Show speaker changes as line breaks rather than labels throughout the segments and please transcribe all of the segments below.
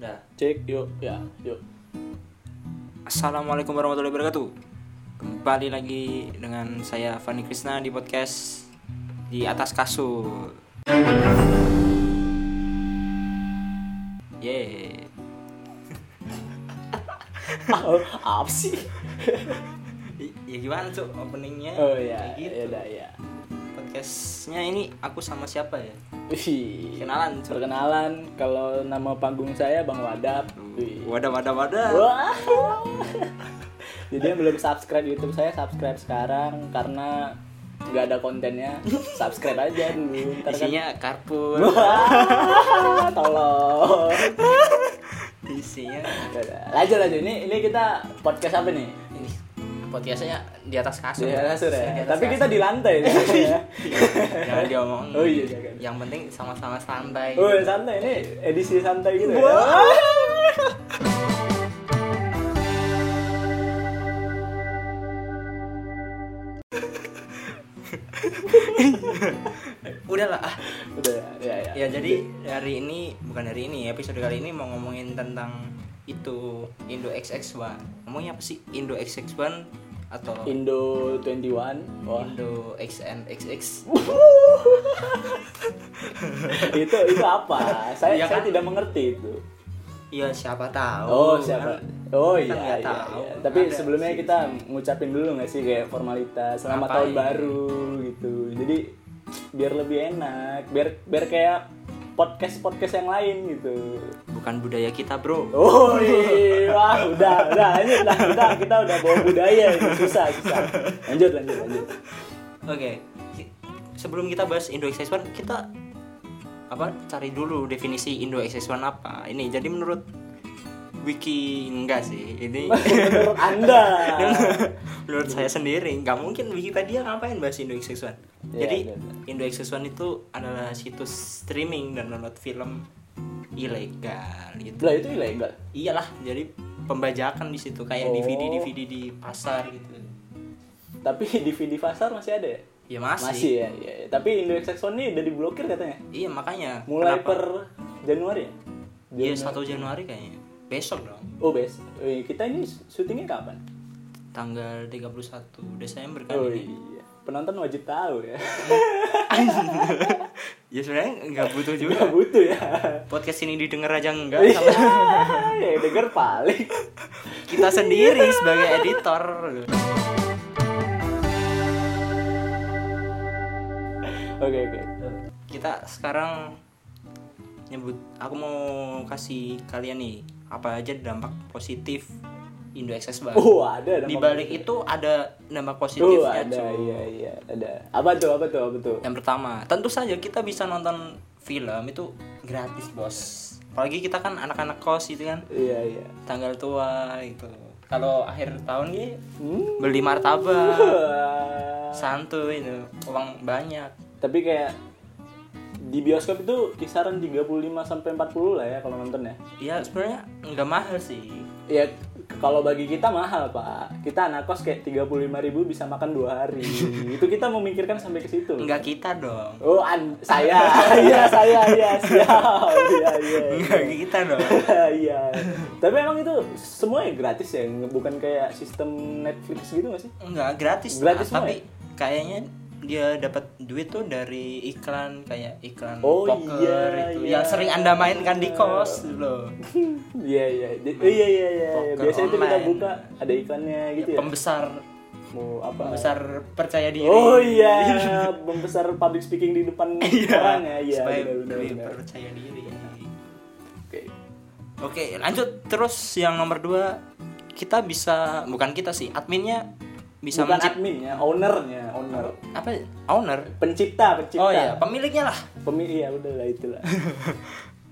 Nah,
Cek yuk, ya, yuk.
Assalamualaikum warahmatullahi wabarakatuh. Kembali lagi dengan saya Fani Krishna di podcast di atas kasur. Yeay.
Oh, apa sih?
I- Ya gimana tuh openingnya?
Oh ya,
Kayak gitu.
ya udah ya.
Podcastnya ini aku sama siapa ya?
Wih.
Kenalan, Cuk.
Perkenalan, kalau nama panggung saya Bang Wadap.
Hmm.
Wih.
Wadah wadah wadah.
Wah. Jadi yang belum subscribe YouTube saya subscribe sekarang karena nggak ada kontennya. Subscribe aja dulu. Ntar kan-
Isinya karpun.
Wah, tolong.
Isinya
Ya udah. Lanjut lanjut. Ini ini kita podcast apa nih?
ini podcastnya di atas kasur.
Di atas kasur
Di
ya.
atas
Tapi
kasur.
kita di lantai nih, ya.
jangan diomongin
Oh iya, jangan.
yang penting sama-sama santai
Oh, santai ini edisi santai gitu ya.
Wah. udah lah ah.
Udah ya ya.
ya jadi hari ini bukan hari ini episode kali ini mau ngomongin tentang itu Indo XX1 ngomongnya apa sih Indo XX1 atau
Indo 21. Wah.
Indo XNXX
itu itu apa? Saya
Iya
saya
kan?
tidak mengerti itu.
ya siapa tahu
Oh,
kan?
siapa? Oh
Kita
iya,
nggak
iya,
tahu.
iya. Tapi
Ada
sebelumnya
sih.
kita ngucapin dulu nggak sih kayak formalitas selamat
Ngapain?
tahun baru gitu. Jadi biar lebih enak, biar biar kayak podcast podcast yang lain gitu.
bukan budaya kita bro
Oh iya, wah udah udah ini udah kita kita udah bawa budaya ini susah susah. Lanjut lanjut lanjut.
Oke, ki- sebelum kita bahas Indo XX1, kita apa cari dulu definisi Indo XX1 apa? Ini jadi menurut wiki enggak sih? Ini
Menurut anda?
menurut saya sendiri nggak mungkin Wikipedia ngapain bahas Indo XX1.
Iya,
jadi
iya, iya.
Indo XX1 itu adalah situs streaming dan download film ilegal gitu.
Lah iya. itu ilegal.
Iyalah, jadi pembajakan di situ kayak
Oh.
DVD DVD di pasar gitu.
Tapi DVD pasar masih ada ya?
Ya
Masih ya, iya, iya. Tapi Indo Saxon ini udah diblokir katanya.
Iya makanya.
Mulai
Kenapa?
per Januari ya?
Iya
Januari.
1 Januari kayaknya Besok dong
Oh, bes. Eh, kita ini syutingnya kapan?
Tanggal 31 Desember kan
Oh
ini
iya. Penonton wajib tahu ya.
Ya sebenarnya nggak butuh juga
Gak butuh ya.
Podcast ini didengar aja enggak
Iya,
sama
ya denger paling.
kita sendiri sebagai editor gitu.
Oke, oke.
Kita sekarang nyebut Aku mau kasih kalian nih Apa aja dampak positif Indo Access Bank
Oh, ada ada
Di balik itu ada dampak
Oh,
positifnya
ada
cuy.
iya iya, ada. Apa tuh? Apa tuh? Apa tuh?
Yang pertama, tentu saja kita bisa nonton film itu gratis, Bos. Apalagi kita kan anak-anak kos gitu kan,
Iya, iya.
tanggal tua gitu. Kalau akhir tahun nih
Hmm.
beli martabak,
Wah.
santuy itu, uang banyak.
Tapi kayak di bioskop itu kisaran 35 sampai 40 lah ya kalau nonton ya.
Ya sebenarnya nggak mahal sih.
Ya k- kalau bagi kita mahal pak. Kita anak kos kayak 35.000 ribu bisa makan dua hari. itu kita memikirkan sampai ke situ. loh.
Nggak kita dong.
Oh an saya, iya saya, iya siap, iya iya.
Nggak kita dong.
Iya. Tapi emang itu semuanya gratis ya, bukan kayak sistem Netflix gitu gak sih?
Nggak gratis.
Gratis
Nah, tapi
semua
kayaknya dia dapat duit tuh dari iklan kayak iklan
Oh,
poker
iya,
itu
iya.
yang sering anda mainkan di kos loh
Iya iya, Di- iya iya iya. iya.
Poker
Biasanya itu kita
online.
buka ada iklannya gitu ya.
pembesar
Mau apa?
besar percaya diri
Oh iya, membesar public speaking di depan orang ya, iya
supaya
benar
lebih
benar.
percaya diri
Oke.
oke lanjut terus yang nomor dua kita bisa bukan kita sih adminnya bisa
Bukan
mencipt-
adminnya, ownernya, owner.
apa owner
Pencipta, pencipta.
oh iya pemiliknya lah
Pemi- iya udah lah itulah.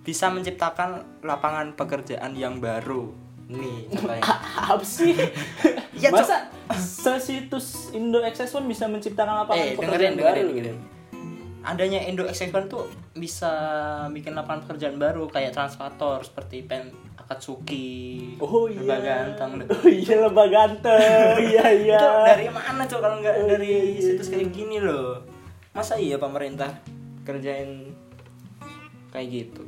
bisa menciptakan lapangan pekerjaan yang baru nih contohnya.
Apa sih?
Ya, Cok.
Masa sesitus Indo Access One bisa menciptakan lapangan
eh
pekerjaan
dengerin
baru?
dengerin dengerin adanya Indo Extension tuh bisa bikin lapangan pekerjaan baru kayak translator seperti pen Akatsuki
Oh iya.
Lebah ganteng
Oh iya lebah ganteng. iya iya.
Itu dari mana cok kalau nggak
Oh,
dari
iya, iya,
situs kayak gini loh masa iya pemerintah kerjain kayak gitu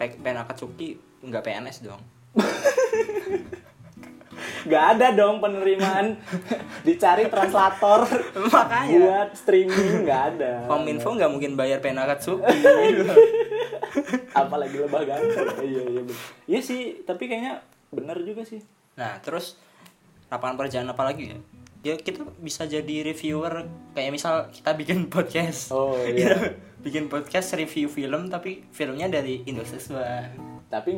Pek pen Akatsuki nggak PNS dong
Gak ada dong penerimaan dicari translator
makanya
buat streaming nggak ada.
Kominfo nggak mungkin bayar pena Katsuki
Apalagi lebah ganteng. iya iya bener. Iya sih, tapi kayaknya bener juga sih.
nah terus lapangan pekerjaan apa lagi ya ya kita bisa jadi reviewer kayak misal kita bikin podcast
Oh, iya.
Kita bikin podcast review film tapi filmnya dari Indonesia
Tapi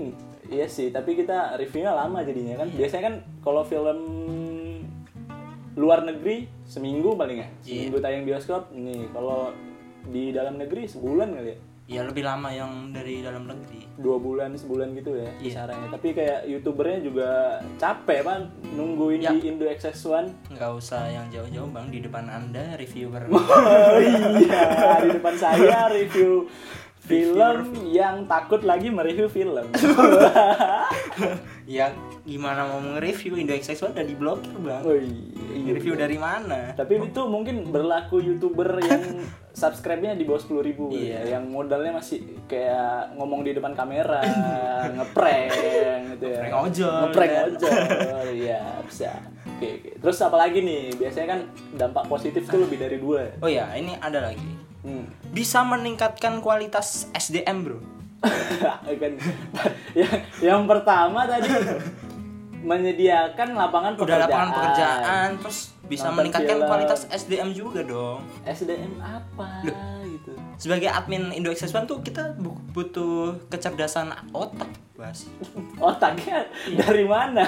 iya sih, tapi kita reviewnya lama jadinya
Iya.
kan. Biasanya kan kalau film luar negeri seminggu paling ya.
Iya.
Seminggu tayang bioskop nih. Kalau di dalam negeri sebulan kali ya.
ya lebih lama yang dari dalam negeri
dua bulan sebulan gitu ya
Iya.
kisarannya tapi kayak youtubernya juga capek bang nungguin
Ya.
di Indo XS1
nggak usah yang jauh-jauh bang di depan anda reviewer
oh iya di depan saya review film yang takut lagi mereview film
ya gimana mau nge-review Indo XX1 udah diblokir bang
oh iya,
review dari mana
tapi itu mungkin berlaku youtuber yang subscribe-nya di bawah sepuluh ribu
Iya.
ya, yang modalnya masih kayak ngomong di depan kamera ngeprank gitu ya
Ngeprank ojol,
ngeprank
kan?
ojol iya bisa oke oke. terus apa lagi nih biasanya kan dampak positif tuh lebih dari dua
oh ya ini ada lagi
hmm.
bisa meningkatkan kualitas SDM bro
kan yang, yang pertama tadi menyediakan
udah
lapangan pekerjaan
lapangan pekerjaan terus bisa
Nonton
meningkatkan
film.
kualitas SDM juga dong
SDM apa gitu
sebagai admin Indo XX1 tuh kita bu- butuh kecerdasan otak bas
otaknya
Iya.
dari mana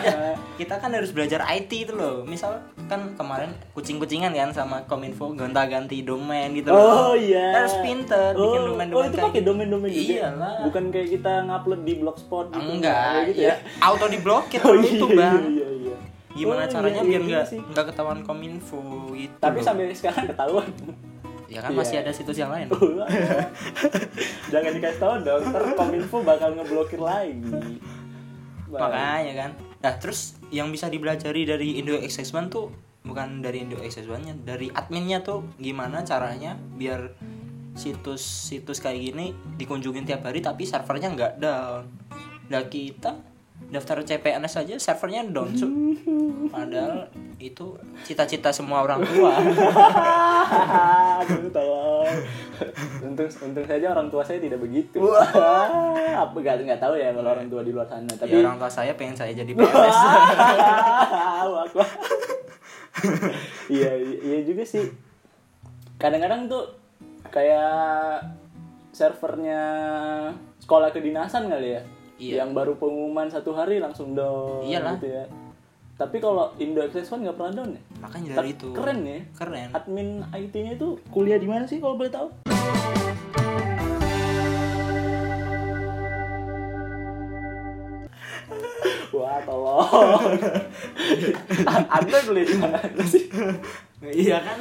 kita kan harus belajar IT itu loh misal kan kemarin kucing-kucingan kan sama kominfo gonta-ganti domain gitu loh
Oh iya.
Kita harus pinter bikin
Oh,
domain-domain
Oh, itu
kayak
pakai
gitu.
domain-domain juga. ya?
Iyalah.
Bukan kayak kita ngupload di blogspot gitu.
enggak
kayak gitu
ya
ya.
auto diblokir
Oh,
kalau itu bang
Iya, iya.
gimana
Oh,
caranya
iya,
biar
iya
nggak
sih.
nggak ketahuan kominfo gitu
Tapi
loh.
sampai sekarang ketahuan.
ya kan masih
Iya.
ada situs yang lain
Jangan dikasih tahu dong, ntar kominfo bakal ngeblokir lagi. Baik.
makanya kan nah terus yang bisa dipelajari dari Indo XX1 tuh bukan dari Indo XX1 nya dari adminnya tuh gimana caranya biar situs-situs kayak gini dikunjungin tiap hari tapi servernya nggak down nah kita daftar CPNS aja servernya down cu. padahal itu cita-cita semua orang tua
Aduh, tolong. Untung, untung saja orang tua saya tidak begitu. Apa nggak nggak tahu ya kalau orang tua di luar sana.
tapi
Tapi
Iya, orang tua saya pengen saya jadi PNS
Wah, wah. Iya, iya iya juga sih. Kadang-kadang tuh kayak servernya sekolah kedinasan kali ya.
Iya.
Yang baru pengumuman satu hari langsung down
Iyalah.
gitu ya. Tapi kalau Indo Access One nggak pernah down ya?
makanya dari
Tapi
itu
Keren ya.
keren
Admin IT-nya itu kuliah di mana sih kalau boleh tahu? Wah, tolong. A- Anda kuliah di mana sih?
iya kan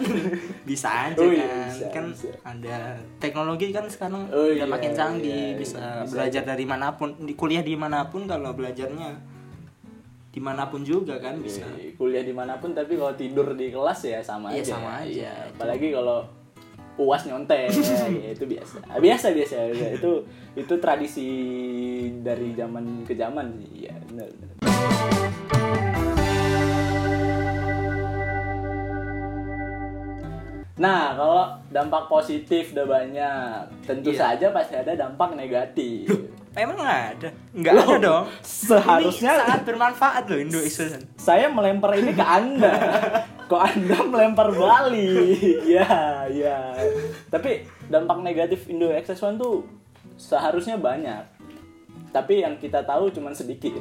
bisa aja
Oh
kan
iya, bisa,
kan
bisa.
ada teknologi kan sekarang
Oh
udah
iya,
makin canggih
iya,
bisa,
bisa
belajar dari manapun di kuliah di manapun kalau belajarnya dimanapun juga kan bisa
Iya, Kuliah dimanapun tapi kalau tidur di kelas ya sama
Iya,
aja.
sama aja.
Iya, Apalagi kalau puas nyontek ya, itu biasa. Biasa biasa ya. itu itu tradisi dari zaman ke zaman sih. Iya, benar benar. Nah, kalau dampak positif udah banyak, tentu
Iya.
saja pasti ada dampak negatif.
emang nggak ada nggak ada dong
seharusnya- Kan
Ini sangat bermanfaat loh Indo Extension
saya melempar ini ke Anda. Kok Anda melempar balik? ya, ya. Tapi dampak negatif Indo Access One tuh seharusnya banyak. Tapi yang kita tahu cuman sedikit.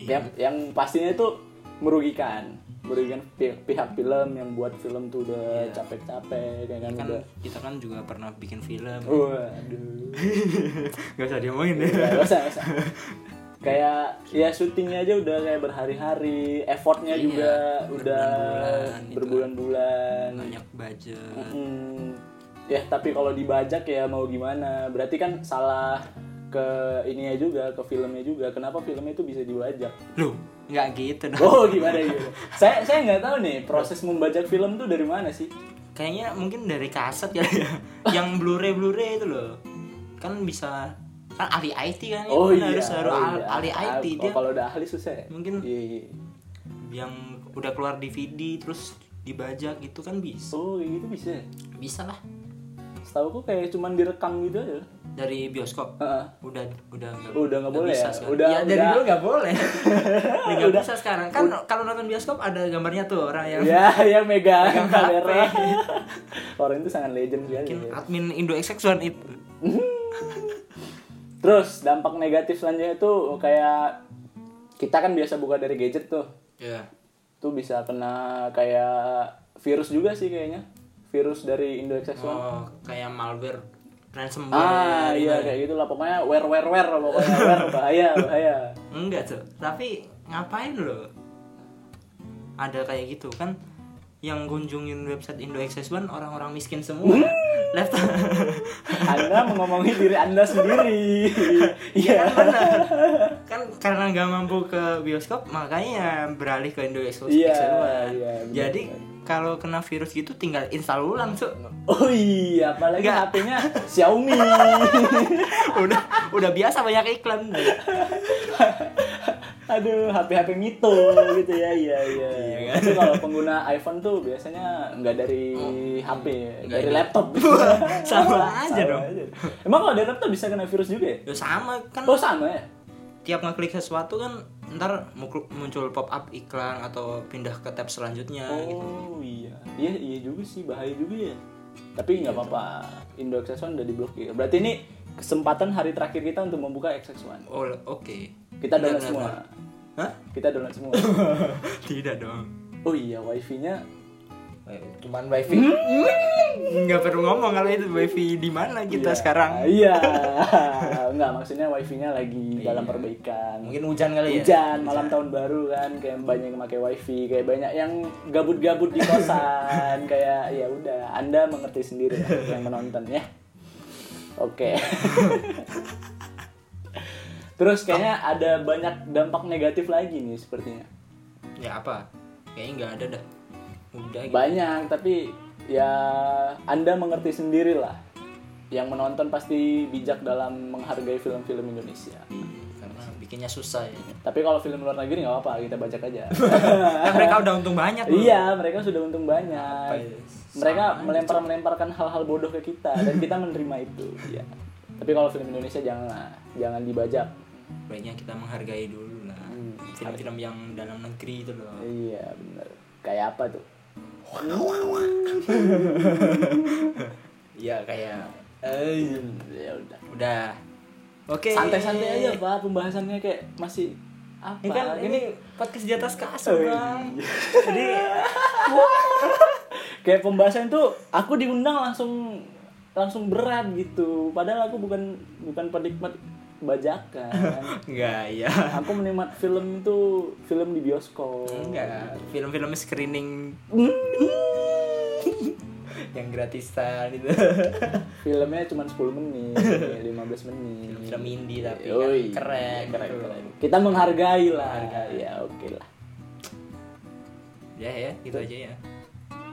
Yang, yang pastinya itu merugikan. Merugikan pi- pihak film yang buat film tuh udah capek-capek kayak kan
kan
udah.
kita kan juga pernah bikin film
Oh. Waduh.
nggak usah diomongin ya
Nggak, nggak usah, nggak usah. kayak ya syutingnya aja udah kayak berhari-hari, effortnya
Iya,
juga udah
berbulan-bulan gitu. Nah, iya.
berbulan-bulan.
banyak budget
Mm, ya tapi kalau dibajak ya mau gimana? Berarti kan salah ke ininya juga, ke filmnya juga. Kenapa filmnya itu bisa dibajak?
loh nggak gitu dong
Oh gimana gitu? saya saya nggak tahu nih proses membajak film tuh dari mana sih?
kayaknya mungkin dari kaset ya yang blu-ray blu-ray itu loh kan bisa kan ahli IT kan ya,
Oh
kan
iya.
harus harus
oh
al-
iya.
ahli
Ah,
IT
oh,
dia
Kalau udah ahli susah. ya?
Mungkin.
Iya. iya.
yang udah keluar DVD terus dibajak gitu kan bisa
Oh kayak gitu bisa. ya?
bisa lah
Setahu aku kayak cuman direkam gitu aja.
dari bioskop
Heeh.
udah udah nggak
Udah nggak boleh
bisa
ya?
sekarang.
Udah-
ya, dari
udah-
dulu nggak boleh udah nggak
Udah-
bisa sekarang kan kalau nonton bioskop ada gambarnya tuh orang yang
Ya, ya mega
Megang
kamera.
HP.
Orang itu sangat legend sekali.
mungkin
ya.
admin Indo XX1 itu
Terus dampak negatif selanjutnya tuh kayak kita kan biasa buka dari gadget tuh.
ya
Tuh bisa kena kayak virus juga sih kayaknya. Virus dari Indo XS1.
oh kayak malware ransomware ya,
Ah iya
gitu.
kayak gitu lah pokoknya wear wear wear lah pokoknya wear bahaya bahaya.
enggak tuh tapi ngapain lo ada kayak gitu kan yang kunjungin website Indo XX1 orang-orang miskin semua
Hmm.
left
Anda mengomongi diri Anda sendiri.
Iya
Iya.
kan benar. kan karena nggak mampu ke bioskop makanya beralih ke Indo Exos-
Iya,
Exos-
iya, benar,
Jadi kalau kena virus gitu tinggal install ulang Cuk.
Oh iya, apalagi
Nggak.
HP-nya Xiaomi.
udah udah biasa banyak iklan.
Aduh, HP-HP mito gitu ya. Iya, iya.
Iya kan?
Tapi kalau pengguna iPhone tuh biasanya nggak dari HP, ya,
Hmm. nggak
dari
dari-
laptop.
sama aja dong.
Emang kalau dari laptop bisa kena virus juga ya?
Ya sama kan
Oh sama ya?
tiap ngeklik sesuatu kan ntar mukul- muncul pop up iklan atau pindah ke tab selanjutnya gitu.
Oh iya, iya iya juga sih bahaya juga ya. Tapi
Gitu.
nggak apa-apa, Indo XS1 udah diblokir. Berarti ini kesempatan hari terakhir kita untuk membuka XS1.
Oh, oke.
Kita
Benar,
download
benar,
semua.
benar. Hah?
Kita download semua.
Tidak dong.
Oh iya, wifi-nya
Eh, Cuman wifi. Hmm. Nggak perlu ngomong kalau itu wifi di mana kita
Iya,
sekarang.
Iya. Enggak, maksudnya wifi-nya lagi dalam perbaikan.
Iya. Mungkin hujan kali ya.
Hujan, malam tahun baru kan kayak banyak yang pakai wifi, kayak banyak yang gabut-gabut di kosan, kayak ya udah, Anda mengerti sendiri lah yang menonton ya. Oke. Terus kayaknya ada banyak dampak negatif lagi nih sepertinya.
Ya apa? Kayaknya nggak ada dah. Udah gitu.
Banyak, tapi ya Anda mengerti sendiri lah. Yang menonton pasti bijak dalam menghargai film-film Indonesia.
Karena bikinnya susah ya.
Tapi kalau film luar negeri nggak apa-apa, kita bajak aja.
Kan mereka udah untung banyak loh.
iya, mereka sudah untung
Apa
banyak.
ya? Sama
Mereka
aja.
melempar-melemparkan hal-hal bodoh ke kita dan kita menerima itu. Iya. Tapi kalau film Indonesia janganlah, jangan dibajak.
Baiknya kita menghargai dulu lah. Film-film yang dalam negeri itu loh.
Iya, benar. Kayak apa tuh?
Iya kayak Iya.
Eh, ya udah.
udah. Oke.
Santai-santai aja, Pak. Pembahasannya kayak masih apa?
Ini kan ini podcast di atas
Oh,
kasur, Bang.
iya.
Jadi
kayak pembahasan tuh aku diundang langsung langsung berat gitu. Padahal aku bukan bukan penikmat bajakan.
enggak ya.
aku menikmat film itu film di bioskop
Enggak, film-film screening yang gratisan gitu.
filmnya cuma 10 menit 15 menit
Film indie tapi kan
Yoi.
keren,
keren,
gitu.
keren. kita menghargai lah
Menghargai.
ya oke lah
Ya ya, gitu aja ya.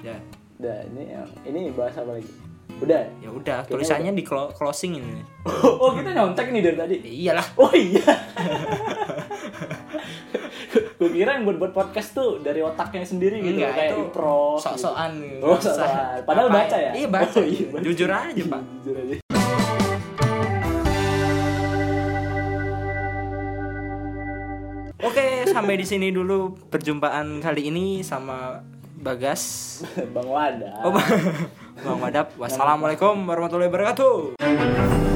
Ya,
udah ini ini bahas apa lagi udah
ya udah, tulisannya di clo- closing ini.
oh kita nyontek nih dari tadi
Ya, iyalah.
oh iya gue kira yang buat buat podcast tuh dari otaknya sendiri gitu
Enggak,
kayak
itu
improv gitu.
sok-sokan. gitu.
Oh,
Nggak usah.
sok-sokan. Padahal
Ngapain.
baca ya?
Iya, baca.
Oh, iya, baca.
Jujur aja, Pak.
Jujur aja.
Oke, sampai di sini dulu perjumpaan kali ini sama Bagas.
bang Wada
Nah. Oh, Bang Bang Wadap. Wassalamualaikum warahmatullahi wabarakatuh.